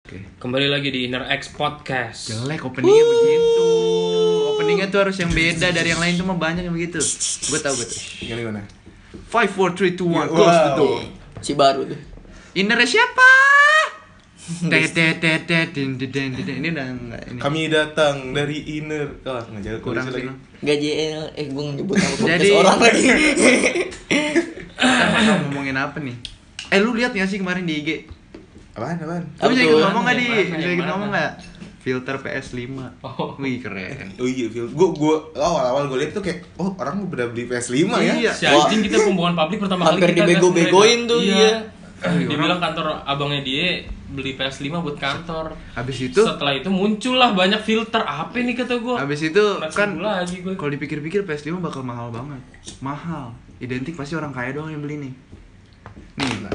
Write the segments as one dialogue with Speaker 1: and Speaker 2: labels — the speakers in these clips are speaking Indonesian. Speaker 1: Oke.
Speaker 2: Kembali lagi di Inner X Podcast.
Speaker 1: Jelek openingnya begitu. Openingnya tuh harus yang beda dari yang lain tuh mah banyak yang begitu. Gue tau gue tuh.
Speaker 3: Gimana gimana?
Speaker 1: Five, four, three, two, one. Close the
Speaker 3: Wow.
Speaker 1: door.
Speaker 4: Si baru tuh.
Speaker 1: Innernya siapa? Tet tet tet tet din, din, din, din. Ini udah enggak ini.
Speaker 3: Kami datang dari inner. Oh, ngejar
Speaker 1: kurang sih.
Speaker 3: lagi.
Speaker 1: no.
Speaker 4: Gajel, eh gue nyebut nama podcast
Speaker 1: Jadi-
Speaker 4: orang lagi.
Speaker 1: Kita bakal ngomongin apa nih? Eh lu lihat nggak sih kemarin di IG?
Speaker 3: Apaan apaan?
Speaker 1: Lu
Speaker 4: Apa
Speaker 1: bisa
Speaker 4: tuh?
Speaker 1: ikut ngomong nggak di?
Speaker 2: Yang mana,
Speaker 1: Bisa
Speaker 2: yang
Speaker 1: ikut
Speaker 2: mana?
Speaker 1: ngomong nggak? Filter PS5.
Speaker 2: Oh.
Speaker 1: Wih keren.
Speaker 3: Oh iya, Phil. Gua gua awal-awal gua lihat tuh kayak oh orang udah beli PS5
Speaker 1: Iya.
Speaker 3: ya.
Speaker 2: Si anjing kita pembuangan publik pertama kali
Speaker 4: Hampir
Speaker 2: kita
Speaker 4: dibego-begoin
Speaker 2: tes
Speaker 4: tuh
Speaker 2: mereka.
Speaker 4: dia.
Speaker 2: Iya. Dibilang kantor abangnya dia beli PS5 buat kantor.
Speaker 1: Habis itu
Speaker 2: Setelah itu muncullah banyak filter. Apa nih kata gua?
Speaker 1: habis itu
Speaker 2: Masih
Speaker 1: kan
Speaker 2: dulu lagi gue.
Speaker 4: Iya.
Speaker 1: kalau dipikir-pikir PS5 bakal mahal banget. Mahal. Identik pasti orang kaya doang yang beli nih. Nih.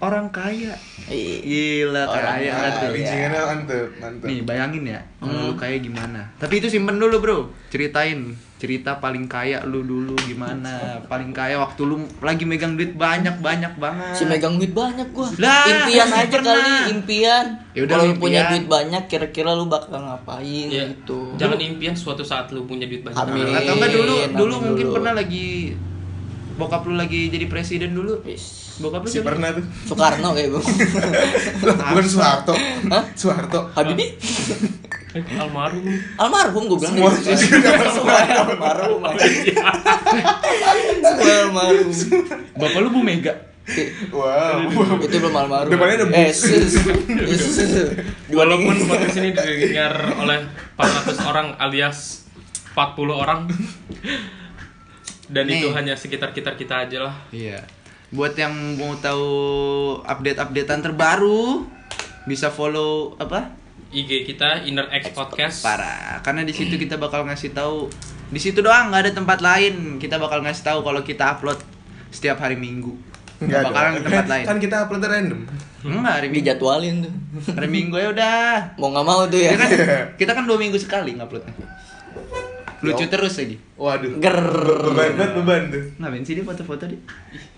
Speaker 1: Orang kaya.
Speaker 4: Iya.
Speaker 1: Gila
Speaker 4: Orang Iya.
Speaker 1: kaya
Speaker 3: Ah,
Speaker 1: kan tuh.
Speaker 3: Bridgingannya mantep, mantep.
Speaker 1: Nih bayangin ya,
Speaker 4: Hmm.
Speaker 1: kalau lu kaya gimana? Tapi itu simpen dulu bro, ceritain cerita paling kaya lu dulu gimana? Paling kaya waktu lu lagi megang duit banyak banyak banget.
Speaker 4: Si megang duit banyak gua.
Speaker 1: Lah,
Speaker 4: impian
Speaker 1: masih
Speaker 4: aja
Speaker 1: pernah.
Speaker 4: kali, impian.
Speaker 1: Ya udah,
Speaker 4: Kalau
Speaker 1: impian.
Speaker 4: lu
Speaker 1: Iya.
Speaker 4: punya duit banyak, kira-kira lu bakal ngapain
Speaker 2: Ya,
Speaker 4: gitu.
Speaker 2: Jangan impian suatu saat lu punya duit banyak.
Speaker 4: Amin.
Speaker 1: Atau enggak dulu
Speaker 4: Amin
Speaker 1: dulu mungkin
Speaker 4: dulu.
Speaker 1: pernah lagi bokap lu lagi jadi presiden dulu.
Speaker 4: Wis.
Speaker 1: Bokap lu
Speaker 3: Si
Speaker 1: jadi-
Speaker 3: pernah tuh.
Speaker 4: Soekarno kayak gue.
Speaker 3: Bukan Soeharto.
Speaker 4: Hah?
Speaker 3: Soeharto.
Speaker 4: Habibie,
Speaker 2: Eh, Almarhum.
Speaker 4: almarhum gue bilang.
Speaker 3: Semua
Speaker 4: gitu. Semua almarhum. anjing. Semua almarhum.
Speaker 1: Bapak lu Bu Mega.
Speaker 3: Wow.
Speaker 4: Itu belum almarhum.
Speaker 3: Depannya ada Bu.
Speaker 4: Eh, sus. Eh, sus.
Speaker 2: Walaupun podcast ini didengar oleh 400 orang alias 40 orang. Dan
Speaker 1: Nih.
Speaker 2: itu hanya sekitar-kitar kita aja lah.
Speaker 1: Iya. Buat yang mau tahu update-updatean terbaru bisa follow apa?
Speaker 2: IG kita Inner X Podcast.
Speaker 1: parah karena di situ kita bakal ngasih tahu di situ doang nggak ada tempat lain kita bakal ngasih tahu kalau kita upload setiap hari minggu nggak bakalan ke tempat lain
Speaker 3: Kan kita upload random.
Speaker 1: enggak hari minggu
Speaker 4: dijadwalin tuh.
Speaker 1: hari minggu ya udah
Speaker 4: Mau nggak mau tuh
Speaker 1: ya
Speaker 3: Iya.
Speaker 4: ya.
Speaker 1: kan kita kan dua minggu sekali nguploadnya lucu terus lagi
Speaker 3: Waduh.
Speaker 4: Ger.
Speaker 3: Beban banget beban tuh.
Speaker 1: ngapain sih dia foto-foto dia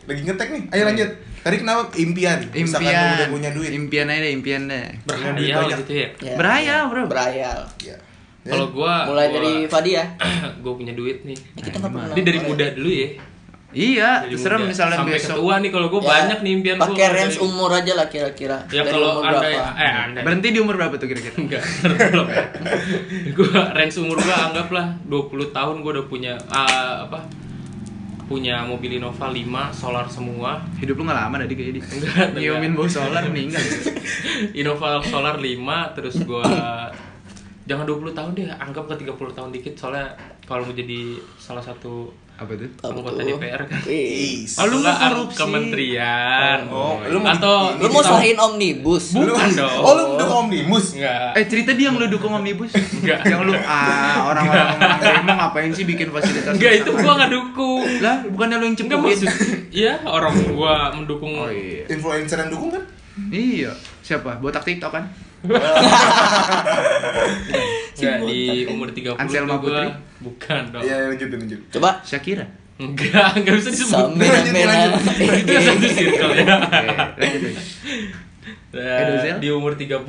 Speaker 3: Lagi ngetek nih. Ayo lanjut. Tadi kenapa Iya. impian? Misalkan lu udah
Speaker 1: impian
Speaker 3: punya duit.
Speaker 1: impian aja deh impian deh
Speaker 3: Punya duit
Speaker 2: Berhayal
Speaker 3: banyak.
Speaker 2: gitu ya.
Speaker 4: Ya,
Speaker 1: Berayal, bro.
Speaker 4: Berayal.
Speaker 3: Iya.
Speaker 1: Eh,
Speaker 3: Ya.
Speaker 2: Kalau gua
Speaker 4: Mulai
Speaker 2: gua-
Speaker 4: dari Fadi ya.
Speaker 2: gue punya duit nih.
Speaker 4: Ya, kita nggak pernah.
Speaker 2: Ini dari muda dulu ya.
Speaker 1: iya
Speaker 2: Dari
Speaker 1: serem
Speaker 2: muda.
Speaker 1: misalnya
Speaker 2: sampai
Speaker 1: besok
Speaker 2: ketua nih kalau gue
Speaker 4: Ya,
Speaker 2: banyak nih impian gue.
Speaker 4: Pakai range umur aja lah kira-kira.
Speaker 2: Ya
Speaker 4: Dari
Speaker 2: kalau anda
Speaker 4: umur berapa?
Speaker 2: eh anda
Speaker 1: Iya. berhenti di umur berapa tuh kira-kira
Speaker 2: enggak belum. Gua range umur gua anggaplah 20 tahun gua udah punya ah, apa? Punya mobil Innova 5 solar semua.
Speaker 1: hidup lu nggak lama tadi kayaknya di
Speaker 2: Enggak, enggak.
Speaker 1: nyiumin bau solar meninggal
Speaker 2: Innova solar 5 terus gua jangan 20 tahun deh, anggap ke 30 tahun dikit soalnya kalau mau jadi salah satu
Speaker 1: apa tuh
Speaker 4: Apa
Speaker 2: anggota
Speaker 4: tuh?
Speaker 2: DPR kan.
Speaker 3: Iya.
Speaker 4: Ih.
Speaker 3: Is.
Speaker 1: Oh, lu mau
Speaker 2: Enggak, ah,
Speaker 1: korupsi.
Speaker 2: kementerian.
Speaker 3: Oh, lu mau-
Speaker 2: atau
Speaker 4: Lu mau sahin omnibus?
Speaker 2: Bu-
Speaker 3: Lu-
Speaker 2: bukan dong. Iya.
Speaker 3: Oh, lu udah omnibus.
Speaker 2: Enggak.
Speaker 1: Eh cerita dia yang lu dukung omnibus?
Speaker 2: Ah. Enggak.
Speaker 1: Yang lu ah orang-orang emang ngapain sih bikin fasilitas?
Speaker 2: Enggak itu
Speaker 1: rusak?
Speaker 2: gua enggak dukung.
Speaker 1: Lah bukannya lu yang
Speaker 2: Enggak
Speaker 1: cepuin?
Speaker 2: maksud Iya, orang gua mendukung
Speaker 1: Oh iya.
Speaker 3: Influencer yang dukung kan?
Speaker 1: Iya. Siapa? Botak TikTok kan?
Speaker 2: enggak di umur 30
Speaker 1: Anselma
Speaker 2: tuh gua
Speaker 1: Putri?
Speaker 2: bukan dong.
Speaker 3: Iya, lanjutin lanjut.
Speaker 4: Coba
Speaker 1: Shakira.
Speaker 2: Enggak, enggak bisa disebut.
Speaker 4: Samena-mena.
Speaker 2: Itu satu circle ya.
Speaker 1: Eh, Dozel?
Speaker 2: Di umur 30.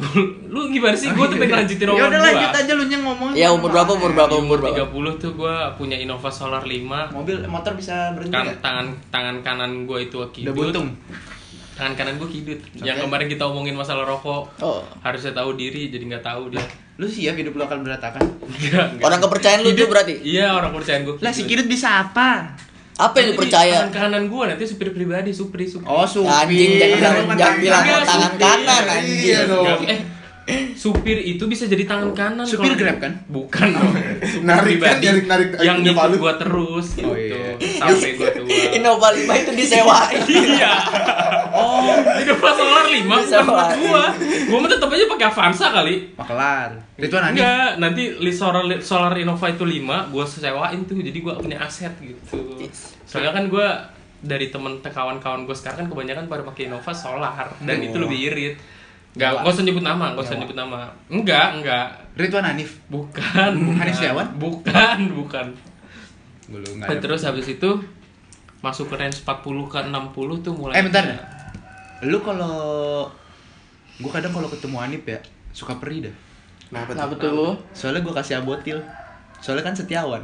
Speaker 2: Lu gimana sih? Gua tuh pengen lanjutin
Speaker 1: Ya
Speaker 2: omongan
Speaker 1: udah
Speaker 2: gua.
Speaker 1: lanjut aja lu yang ngomong.
Speaker 4: Ya umur berapa umur berapa
Speaker 2: Di
Speaker 4: umur
Speaker 2: umur 30
Speaker 4: berapa?
Speaker 2: tuh gua punya Innova Solar 5.
Speaker 1: Mobil motor bisa berhenti
Speaker 2: Kan gitu.
Speaker 1: nggak?
Speaker 2: tangan tangan kanan gua itu
Speaker 1: Iya.
Speaker 2: kidut.
Speaker 1: Udah buntung.
Speaker 2: Tangan kanan gua kidut. Yang kemarin kita omongin masalah rokok.
Speaker 4: Oh.
Speaker 2: Harusnya tahu diri jadi nggak tahu dia.
Speaker 1: Lu siap hidup lu akan berantakan.
Speaker 2: Enggak. enggak.
Speaker 4: Orang kepercayaan lu tuh berarti.
Speaker 2: Iya, orang percayaan gua.
Speaker 1: Lah si
Speaker 2: kidut.
Speaker 1: Kirut bisa apa?
Speaker 4: Apa yang lu
Speaker 2: Nanti
Speaker 4: percaya?
Speaker 2: Tangan kanan gua nanti supir pribadi, supri, supri.
Speaker 1: Oh supir.
Speaker 4: Anjing jangan bilang
Speaker 1: Tangan
Speaker 4: jangan bilang
Speaker 1: kanan.
Speaker 4: mau tangan kanan anjing.
Speaker 3: Iya dong.
Speaker 2: Nggak, eh, supir itu bisa jadi tangan kanan.
Speaker 1: Supir
Speaker 2: kalau-
Speaker 1: Grab kan?
Speaker 2: Bukan. dong. Supir
Speaker 3: Narik kan,
Speaker 2: pribadi
Speaker 3: narik- narik-
Speaker 2: yang
Speaker 3: narik
Speaker 2: ngikut
Speaker 3: palu.
Speaker 2: gua terus gitu.
Speaker 1: Oh, iya.
Speaker 2: Sampai gua tua.
Speaker 4: Innova 5 itu disewain.
Speaker 2: iya. Oh, Innova Solar 5
Speaker 4: Bisa
Speaker 2: bukan buat
Speaker 4: banget.
Speaker 2: gua. Gua mah tetap aja pakai Avanza kali.
Speaker 1: Makelar. Ridwan Hanif.
Speaker 2: Enggak, nanti li solar solar Innova itu 5 gua sewain tuh jadi gua punya aset gitu. Soalnya kan gua dari temen kawan-kawan gue sekarang kan kebanyakan pada pakai Innova solar dan itu lebih irit. Enggak, enggak usah nyebut nama, enggak usah nyebut nama. Enggak, enggak.
Speaker 1: Ridwan Hanif.
Speaker 2: Bukan.
Speaker 1: Hanif
Speaker 2: bukan.
Speaker 1: Setiawan?
Speaker 2: Bukan, bukan.
Speaker 1: Belum
Speaker 2: Nah, terus habis itu masuk ke range 40 ke 60 tuh mulai
Speaker 1: Eh bentar. Lu kalau gue kadang kalau ketemu Anip ya suka perih dah
Speaker 3: Kenapa tuh?
Speaker 4: Kenapa tuh?
Speaker 1: soalnya gue kasih abotil soalnya kan setiawan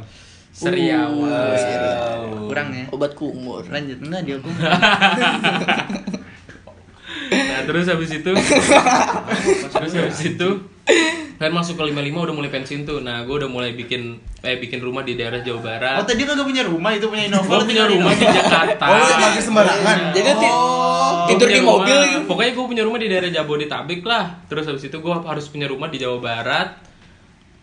Speaker 4: Uh,
Speaker 2: Seriawan.
Speaker 4: seriawan.
Speaker 1: Oh, iya, kurang ya
Speaker 4: Obat kumur.
Speaker 1: lanjut enggak dia gue
Speaker 2: Nah, terus habis itu terus habis itu kan masuk ke 55 udah mulai pensiun tuh. Nah, gue udah mulai bikin eh bikin rumah di daerah Jawa
Speaker 1: oh
Speaker 2: Barat.
Speaker 1: tadi kagak punya rumah itu punya
Speaker 4: Oh,
Speaker 1: Innova
Speaker 2: Gue punya
Speaker 1: tinggal di
Speaker 2: rumah di
Speaker 1: Innova.
Speaker 2: Jakarta.
Speaker 3: Oh, lu pakai sembarangan.
Speaker 2: Iya.
Speaker 4: Jadi nanti
Speaker 1: Oh,
Speaker 2: Gua
Speaker 4: tidur
Speaker 2: punya
Speaker 4: di
Speaker 2: rumah-
Speaker 4: mobil gitu.
Speaker 2: Pokoknya gue punya rumah di daerah Jabodetabek lah. Terus habis itu gue harus punya rumah di Jawa Barat.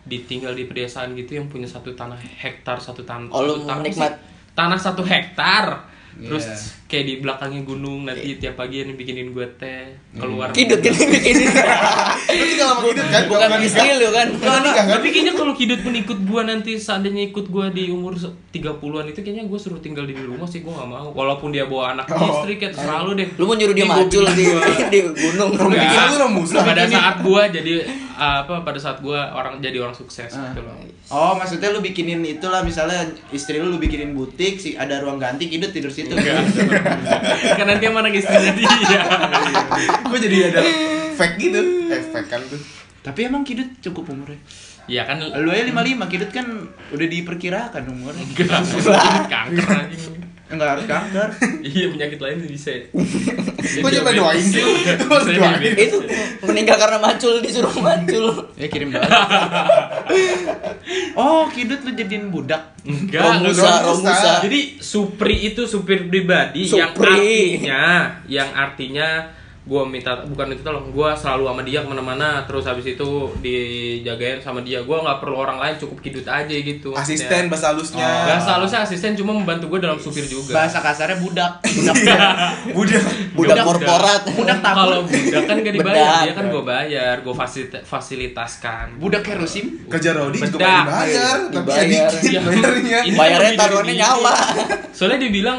Speaker 2: Ditinggal di pedesaan gitu yang punya satu tanah hektar satu tanah.
Speaker 4: Oh, lu
Speaker 2: satu tanah
Speaker 4: menikmat.
Speaker 2: sih. Tanah satu hektar. Terus
Speaker 1: Iya.
Speaker 2: kayak di belakangnya gunung nanti tiap pagi yang bikinin gue teh keluar.
Speaker 4: Iya. Hmm. Kidut ini bikin
Speaker 3: Lu tinggal sama Kidut kan?
Speaker 4: bukan
Speaker 3: Bukan nikah.
Speaker 4: istri lu kan.
Speaker 3: Bukan nikah kan?
Speaker 2: Tapi kayaknya kalau Kidut pun ikut gua nanti seandainya ikut gua di umur 30-an itu kayaknya gua suruh tinggal di rumah sih gua gak mau. Walaupun dia bawa anak
Speaker 3: Oh.
Speaker 2: istri kayak terserah lu deh.
Speaker 4: Lu mau nyuruh dia
Speaker 2: Ini gua
Speaker 4: maju lah di
Speaker 2: bikin gua.
Speaker 4: di gunung.
Speaker 3: Enggak. Bikin lu orang muslim,
Speaker 2: Pada
Speaker 3: bikin.
Speaker 2: saat gua jadi ah, apa pada saat gua orang jadi orang sukses
Speaker 1: Ah.
Speaker 2: gitu loh.
Speaker 1: Oh, maksudnya lu bikinin itulah misalnya istri lu lu bikinin butik, si ada ruang ganti, Kidut tidur situ.
Speaker 2: Kan nanti sama anak istrinya dia.
Speaker 3: Gue jadi ada fake gitu. Eh, fake kan tuh.
Speaker 1: Tapi emang Kidut cukup umurnya.
Speaker 2: Ya kan
Speaker 1: Lu aja 55, Kidut kan udah diperkirakan umurnya.
Speaker 2: gelas kanker anjing.
Speaker 1: Enggak harus kanker.
Speaker 2: Iya penyakit lain bisa.
Speaker 3: Gua coba doain sih. Gua harus doain.
Speaker 4: Itu meninggal karena macul disuruh macul.
Speaker 1: Ya kirim doa. oh, Kidut lu jadiin budak.
Speaker 2: Enggak, enggak
Speaker 4: Romusa,
Speaker 3: enggak.
Speaker 4: Romusa.
Speaker 2: Jadi supri itu supir pribadi yang
Speaker 4: Supri.
Speaker 2: artinya yang artinya gua minta bukan itu tolong gua selalu sama dia kemana-mana terus habis itu dijagain sama dia gua nggak perlu orang lain cukup kidut aja gitu
Speaker 3: Asisten bahasa halusnya.
Speaker 2: Gak seharusnya asisten cuma membantu gue dalam supir juga.
Speaker 1: Bahasa kasarnya budak. Budak.
Speaker 3: Budak.
Speaker 4: Budak
Speaker 2: Budak.
Speaker 4: korporat.
Speaker 1: budak
Speaker 2: Iya.
Speaker 1: tabur.
Speaker 2: Kalau budak kan gak dibayar,
Speaker 4: Bedak.
Speaker 2: dia kan gue bayar, gue fasilitaskan.
Speaker 1: budak kerosin.
Speaker 3: Kerja Rodi juga
Speaker 2: Bedak.
Speaker 3: dibayar, tapi ya
Speaker 4: Dibayar.
Speaker 3: dikit
Speaker 2: Iya.
Speaker 3: bayarnya.
Speaker 2: Ini
Speaker 4: Bayarnya
Speaker 2: lebih dari
Speaker 4: taruhannya
Speaker 2: ini.
Speaker 4: nyawa.
Speaker 2: Soalnya dia bilang,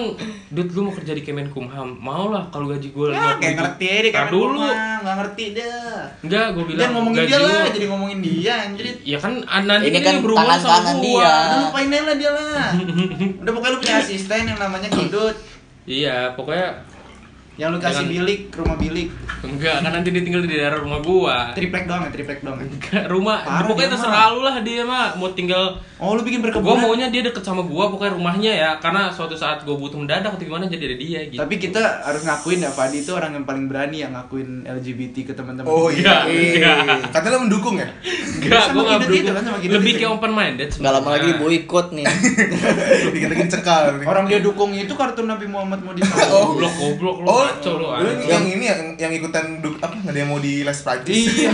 Speaker 2: Dut lu mau kerja di Kemenkumham, mau lah kalau gaji gue
Speaker 1: Ya, kayak ngerti aja deh
Speaker 2: Tar
Speaker 1: kan
Speaker 2: dulu.
Speaker 1: Enggak ngerti deh.
Speaker 2: Enggak, gue bilang
Speaker 1: Jangan ngomongin
Speaker 2: gaji
Speaker 1: dia
Speaker 2: lu-
Speaker 1: lah, jadi ngomongin dia anjrit.
Speaker 2: Ya kan ah, nanti
Speaker 4: Ini kan
Speaker 2: berhubungan
Speaker 4: tangan-tangan
Speaker 2: sama
Speaker 4: dia.
Speaker 2: gua.
Speaker 1: Udah lupain aja lah dia lah. Udah pokoknya lu punya asisten yang namanya Kidut.
Speaker 2: Iya, pokoknya
Speaker 1: Yang lu kasih
Speaker 2: Jangan-
Speaker 1: bilik, rumah bilik.
Speaker 2: enggak kan nanti dia tinggal di daerah rumah gua.
Speaker 1: Triplek doang ya, triplek doang. ya?
Speaker 2: Enggak, rumah
Speaker 1: Parah
Speaker 2: pokoknya
Speaker 1: dia,
Speaker 2: terserah lu lah dia mah mau tinggal
Speaker 1: Oh, lu bikin berkebun.
Speaker 2: Gue maunya dia deket sama gua pokoknya rumahnya ya karena suatu saat gue butuh mendadak atau gimana jadi ada dia gitu.
Speaker 1: Tapi kita harus ngakuin ya Fadi itu orang yang paling berani yang ngakuin LGBT ke teman-teman.
Speaker 3: Oh iya.
Speaker 2: Iya.
Speaker 3: Katanya lo mendukung ya?
Speaker 2: enggak
Speaker 1: sama
Speaker 2: gue nggak
Speaker 1: Kidut
Speaker 2: berdua.
Speaker 1: gitu kan, sama Kidut
Speaker 2: Lebih
Speaker 1: gitu.
Speaker 2: kayak open minded.
Speaker 4: Enggak lama lagi boikot nih.
Speaker 3: Dikit-dikit cekal. nih.
Speaker 1: Orang dia dukung itu kartun Nabi Muhammad mau
Speaker 3: Oh.
Speaker 1: disalahin.
Speaker 2: Goblok goblok lu
Speaker 3: Oh,
Speaker 2: kacau lu.
Speaker 3: lu
Speaker 2: anjing.
Speaker 3: yang ini yang yang ikutan duk apa nggak ada yang mau di les Prancis?
Speaker 1: iya.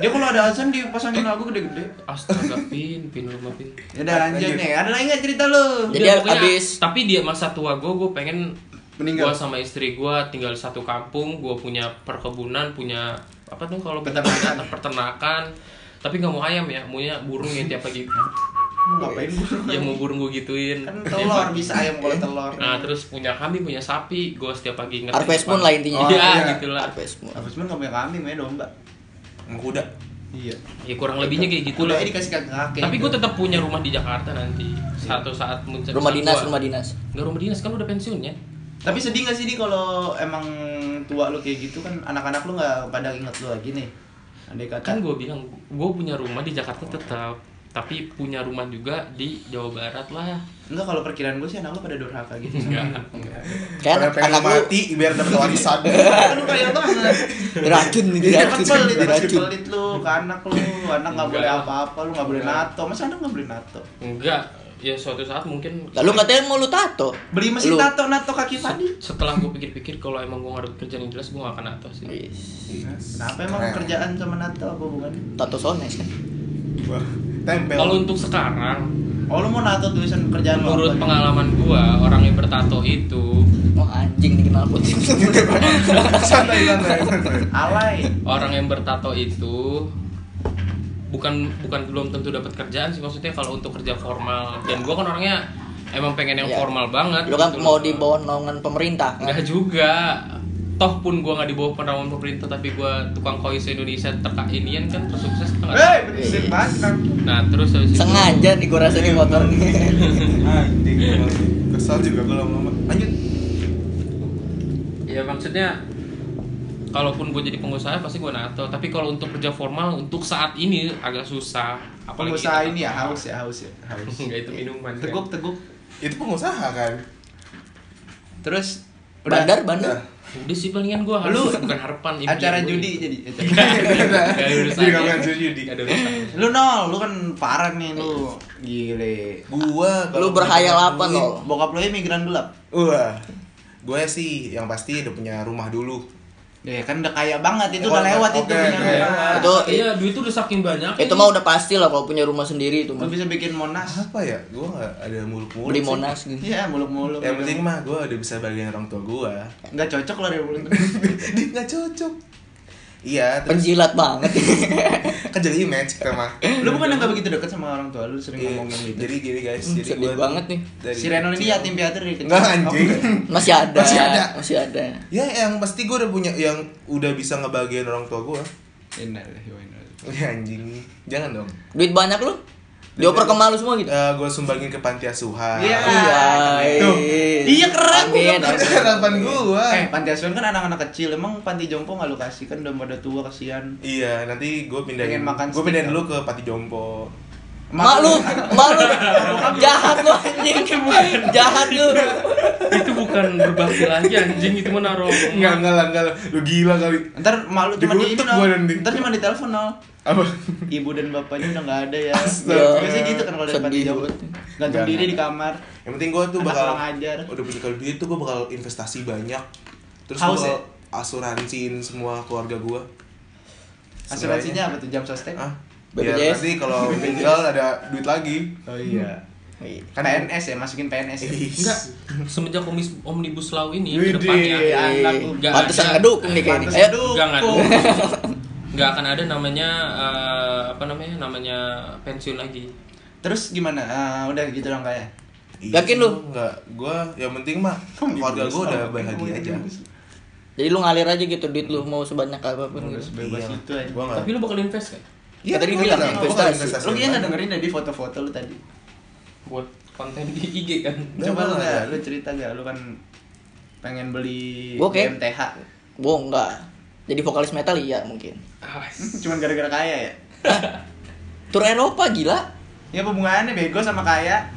Speaker 1: dia kalau ada azan dipasangin lagu gede-gede.
Speaker 2: Astaga pin pin rumah pin.
Speaker 1: Ya udah lanjut nih. Ada lagi nggak cerita lu?
Speaker 4: Jadi
Speaker 2: Udah, pokoknya-
Speaker 4: abis-
Speaker 2: Tapi dia masa tua gue gue pengen Gue
Speaker 1: Meninggal.
Speaker 2: sama istri gue tinggal di satu kampung, gue punya perkebunan, punya apa tuh kalau peternakan, peternakan. Tapi nggak mau ayam ya, maunya burung yang tiap pagi.
Speaker 1: Mau ngapain gua?
Speaker 3: Iya.
Speaker 2: yang mau burung gue gituin.
Speaker 1: Kan
Speaker 2: Tiap
Speaker 1: telur
Speaker 2: pagi.
Speaker 1: bisa ayam kalau telur.
Speaker 2: Nah terus punya kambing, punya sapi, gue setiap pagi inget
Speaker 4: Harvest Moon lah intinya.
Speaker 2: Iya
Speaker 3: Oh, iya.
Speaker 2: gitu lah
Speaker 4: Harvest Moon.
Speaker 1: Habis pun nggak punya kambing, punya domba.
Speaker 3: Emang kuda.
Speaker 1: Iya.
Speaker 2: Ya kurang lebihnya kayak gitu lah
Speaker 1: Udah ini dikasih ke kakek.
Speaker 2: Tapi gue tetap punya rumah di Jakarta nanti Satu saat muncul
Speaker 4: gitu. Rumah dinas, rumah dinas.
Speaker 2: Gak rumah dinas, kan lu udah pensiun ya
Speaker 1: Tapi sedih gak sih di kalau emang tua lu kayak gitu kan anak-anak lu nggak pada inget lu lagi nih. Andai kata
Speaker 2: Kan gue bilang, gue punya rumah di Jakarta tetap Tapi punya rumah juga di Jawa Barat lah
Speaker 1: enggak kalau perkiraan gue sih anak lu pada durhaka gitu.
Speaker 2: Enggak
Speaker 4: Kan
Speaker 3: Orang pengen
Speaker 4: anak lu
Speaker 3: mati biar dapat warisan.
Speaker 1: Kan lu kaya banget.
Speaker 4: diracun nih,
Speaker 1: Dia
Speaker 4: diracun,
Speaker 1: pelit, dia
Speaker 4: diracun.
Speaker 1: pelit lu ke anak lu. Anak nggak boleh
Speaker 2: Enggak.
Speaker 1: apa-apa, lu nggak boleh
Speaker 2: Enggak.
Speaker 1: nato. Masa anak nggak boleh nato?
Speaker 2: Enggak, ya suatu saat mungkin
Speaker 4: Lalu katanya mau lu tato.
Speaker 1: Beli mesin
Speaker 4: Lu.
Speaker 1: tato nato kaki Fadi.
Speaker 2: setelah gue pikir-pikir kalau emang gue gak ada kerjaan yang jelas gue gak akan atas sih
Speaker 4: Wis.
Speaker 1: Kenapa emang
Speaker 3: Keren.
Speaker 1: kerjaan sama nato apa hubungannya?
Speaker 4: Tato sones kan.
Speaker 3: Wah, Tempel.
Speaker 2: Kalau untuk sekarang,
Speaker 1: Oh lu mau nato tulisan
Speaker 4: Ya,
Speaker 1: kerjaan lu
Speaker 2: menurut
Speaker 1: apa?
Speaker 2: pengalaman gue, orang yang bertato itu
Speaker 4: Oh anjing nih kenal putih.
Speaker 3: santai santai santai.
Speaker 1: Alay.
Speaker 2: orang yang bertato itu bukan bukan belum tentu dapat kerjaan sih maksudnya kalau untuk kerja formal dan gua kan orangnya emang pengen yang
Speaker 4: Iya.
Speaker 2: formal banget
Speaker 4: Lu kan
Speaker 2: gitu loh.
Speaker 4: mau di bawah naungan pemerintah. kan?
Speaker 2: nggak juga toh pun gua nggak di bawah penerawan pemerintah tapi gua tukang kois Indonesia terkait inian kan tersukses kita nggak
Speaker 1: Hei, prinsip banget. Kang.
Speaker 2: nah terus habis itu
Speaker 4: Sengaja nih gua rasa nih motor nih.
Speaker 3: Anjing, emang. Kesal juga gue lama-lama. Lanjut.
Speaker 2: ya maksudnya Iya, kalaupun gue jadi pengusaha pasti gue nato tapi kalau untuk kerja formal untuk saat ini agak susah apalagi
Speaker 1: pengusaha
Speaker 2: kita-
Speaker 1: ini ya haus ya haus ya haus
Speaker 2: Enggak, itu minuman, kan?
Speaker 1: teguk teguk
Speaker 3: Itu pengusaha kan?
Speaker 1: terus udah
Speaker 4: Bandar, bandar.
Speaker 2: udah sih palingan gue harus
Speaker 1: Lu-
Speaker 2: bukan harapan impian
Speaker 1: acara
Speaker 2: gua.
Speaker 1: judi jadi
Speaker 2: Nggak
Speaker 1: acara.
Speaker 2: ada nggak ada urusannya.
Speaker 3: Jadi nggak bukan judi.
Speaker 2: Nggak ada urusannya.
Speaker 1: lu nol lu kan parah nih lu gile
Speaker 3: Gua
Speaker 4: Lu
Speaker 3: kalau
Speaker 4: berhayal
Speaker 3: punya
Speaker 4: apa,
Speaker 3: duit-
Speaker 4: Nol?
Speaker 1: bokap lu migran gelap
Speaker 3: Wah. Gue sih yang pasti udah punya rumah dulu.
Speaker 1: ya kan udah kaya banget itu
Speaker 3: Oh,
Speaker 1: udah lewat
Speaker 3: oke,
Speaker 1: itu punya
Speaker 3: oke.
Speaker 1: rumah.
Speaker 4: Itu
Speaker 2: iya duit tuh udah saking banyak
Speaker 4: itu mah udah pasti lah kalau punya rumah sendiri itu
Speaker 1: lu
Speaker 4: mah.
Speaker 1: bisa bikin monas
Speaker 3: Apa ya? Gue nggak ada muluk-muluk. sih.
Speaker 4: Beli monas gitu.
Speaker 1: Iya, muluk-muluk.
Speaker 3: Yang penting mah gue udah bisa bagian orang tua gue.
Speaker 1: nggak cocok lah dari muluk.
Speaker 3: Dia nggak cocok. Iya, terus
Speaker 4: Penjilat banget.
Speaker 3: kan jadi image kita mah.
Speaker 1: lu bukan nggak begitu dekat sama orang tua lu sering
Speaker 3: Iya,
Speaker 1: ngomongin gitu.
Speaker 3: Jadi gini guys,
Speaker 4: Hmm,
Speaker 3: jadi
Speaker 4: sedih
Speaker 3: gua
Speaker 4: banget nih.
Speaker 3: dari
Speaker 1: si Reno ini
Speaker 3: kecil-
Speaker 1: yatim piatu dari kecil. Oh,
Speaker 3: Enggak anjing.
Speaker 4: Masih ada.
Speaker 3: Masih ada.
Speaker 4: Masih ada.
Speaker 3: Ya yang pasti gue udah punya yang udah bisa ngebagian orang tua gue.
Speaker 1: Innalillahi wa inna ilaihi.
Speaker 3: Ya, anjing, jangan dong.
Speaker 4: Duit banyak lu? Dioper ke malu semua gitu.
Speaker 3: gue Eh, sumbangin ke panti asuhan.
Speaker 1: Iya.
Speaker 3: Tuh.
Speaker 4: Iya
Speaker 1: Iya, keren,
Speaker 4: Amin.
Speaker 3: Itu harapan gue.
Speaker 1: Eh, panti asuhan kan anak-anak kecil, emang panti jompo nggak lu kasih kan udah pada tua kasihan.
Speaker 3: Iya, nanti gue pindahin.
Speaker 1: Pengen makan
Speaker 3: Gue pindahin
Speaker 1: steak,
Speaker 3: dulu ke Pati Jompo.
Speaker 4: Mak lu, mak lu jahat lu anjing. Jahat lu.
Speaker 2: itu bukan berbakti lagi anjing itu menaruh
Speaker 1: Iya.
Speaker 3: Enggak, enggak lah, enggak lah. Lu gila kali.
Speaker 1: Ntar malu cuma di ini,
Speaker 3: Dikutuk gua
Speaker 1: Nol.
Speaker 3: nanti.
Speaker 1: Ntar cuma di telepon, Nol.
Speaker 3: Apa?
Speaker 1: Ibu dan bapaknya udah nggak ada ya.
Speaker 3: Astaga.
Speaker 1: Biasanya gitu kan kalau dari panti
Speaker 4: Sedih
Speaker 1: jompo.
Speaker 4: banget.
Speaker 1: Gantung
Speaker 3: Nggak,
Speaker 1: diri di
Speaker 3: nggak.
Speaker 1: kamar.
Speaker 3: Yang penting gue tuh
Speaker 1: Anak
Speaker 3: bakal
Speaker 1: kurang ajar.
Speaker 3: udah punya kalau duit tuh gue bakal investasi banyak. Terus gue
Speaker 1: Haus
Speaker 3: bakal
Speaker 1: ya?
Speaker 3: asuransiin semua keluarga gue.
Speaker 1: Asuransinya apa tuh jam sostek?
Speaker 3: Ah, biar
Speaker 4: BPJS.
Speaker 3: nanti kalau meninggal ada duit lagi.
Speaker 1: Oh iya.
Speaker 3: Kan-
Speaker 1: PNS ya, masukin PNS ya.
Speaker 4: Iya.
Speaker 2: enggak semenjak komis omnibus law ini
Speaker 1: Widih.
Speaker 2: ke depannya
Speaker 1: anak lu
Speaker 2: nggak
Speaker 4: Pantesan
Speaker 2: ada.
Speaker 4: ngedukung nih kayaknya.
Speaker 1: Pantes
Speaker 4: Ayo.
Speaker 1: dukung.
Speaker 2: Enggak, enggak. nggak akan ada namanya eh, apa namanya namanya pensiun lagi
Speaker 1: Terus gimana? Ah, udah gitu dong kayak.
Speaker 3: Iya
Speaker 4: Yakin
Speaker 3: sih,
Speaker 4: lu?
Speaker 3: Enggak, gue yang penting mah keluarga gue udah
Speaker 4: gitu.
Speaker 3: bahagia aja.
Speaker 4: Jadi lu ngalir aja gitu duit lu mau sebanyak apapun
Speaker 1: Terus
Speaker 3: Iya.
Speaker 4: gitu.
Speaker 1: bebas itu aja.
Speaker 3: Gue enggak.
Speaker 2: tapi lu bakal invest kan
Speaker 3: Iya,
Speaker 4: Ya, tadi bilang investasi.
Speaker 1: Lu kayaknya nggak dengerin dari foto-foto lu tadi.
Speaker 2: buat konten di IG kan
Speaker 3: Nggak,
Speaker 1: Coba lu
Speaker 3: nggak,
Speaker 1: nggak,
Speaker 3: nggak.
Speaker 1: lu cerita nggak, lu kan pengen beli
Speaker 4: Gua kayak-
Speaker 1: MTH.
Speaker 4: Gua enggak. Jadi vokalis metal iya mungkin.
Speaker 2: Ah,
Speaker 1: Hmm, Cuman gara-gara kaya ya.
Speaker 4: Tur Eropa gila.
Speaker 1: Ya apa hubungannya bego sama kaya?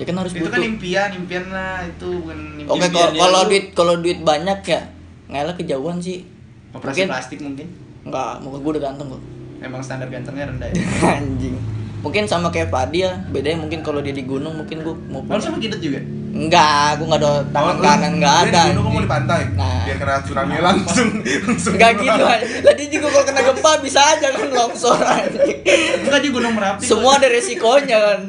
Speaker 4: Ya kan harus
Speaker 1: Itu kan
Speaker 4: butuh.
Speaker 1: impian, impian lah itu bukan impian.
Speaker 4: Oke
Speaker 1: Impian
Speaker 4: kalau
Speaker 1: ya,
Speaker 4: kalau
Speaker 1: lu
Speaker 4: duit kalau duit banyak ya ngalah kejauhan sih.
Speaker 1: operasi
Speaker 4: Mungkin
Speaker 1: plastik mungkin.
Speaker 4: enggak, muka gua udah ganteng kok.
Speaker 1: Emang standar gantengnya rendah ya.
Speaker 4: Anjing. Mungkin sama kayak Padi ya, bedanya mungkin kalau dia di gunung mungkin gua mau
Speaker 1: Lu sama Kidut juga.
Speaker 4: Enggak, gua enggak ada tangan kanan enggak ada.
Speaker 3: Gue mau di pantai.
Speaker 4: Nah.
Speaker 3: Biar kena tsunami langsung. langsung
Speaker 4: Enggak
Speaker 3: keluar.
Speaker 4: gitu. anjing. Tadi juga kalau kena gempa bisa aja kan longsor anjing.
Speaker 1: Enggak di Gunung Merapi.
Speaker 4: Semua ada resikonya kan.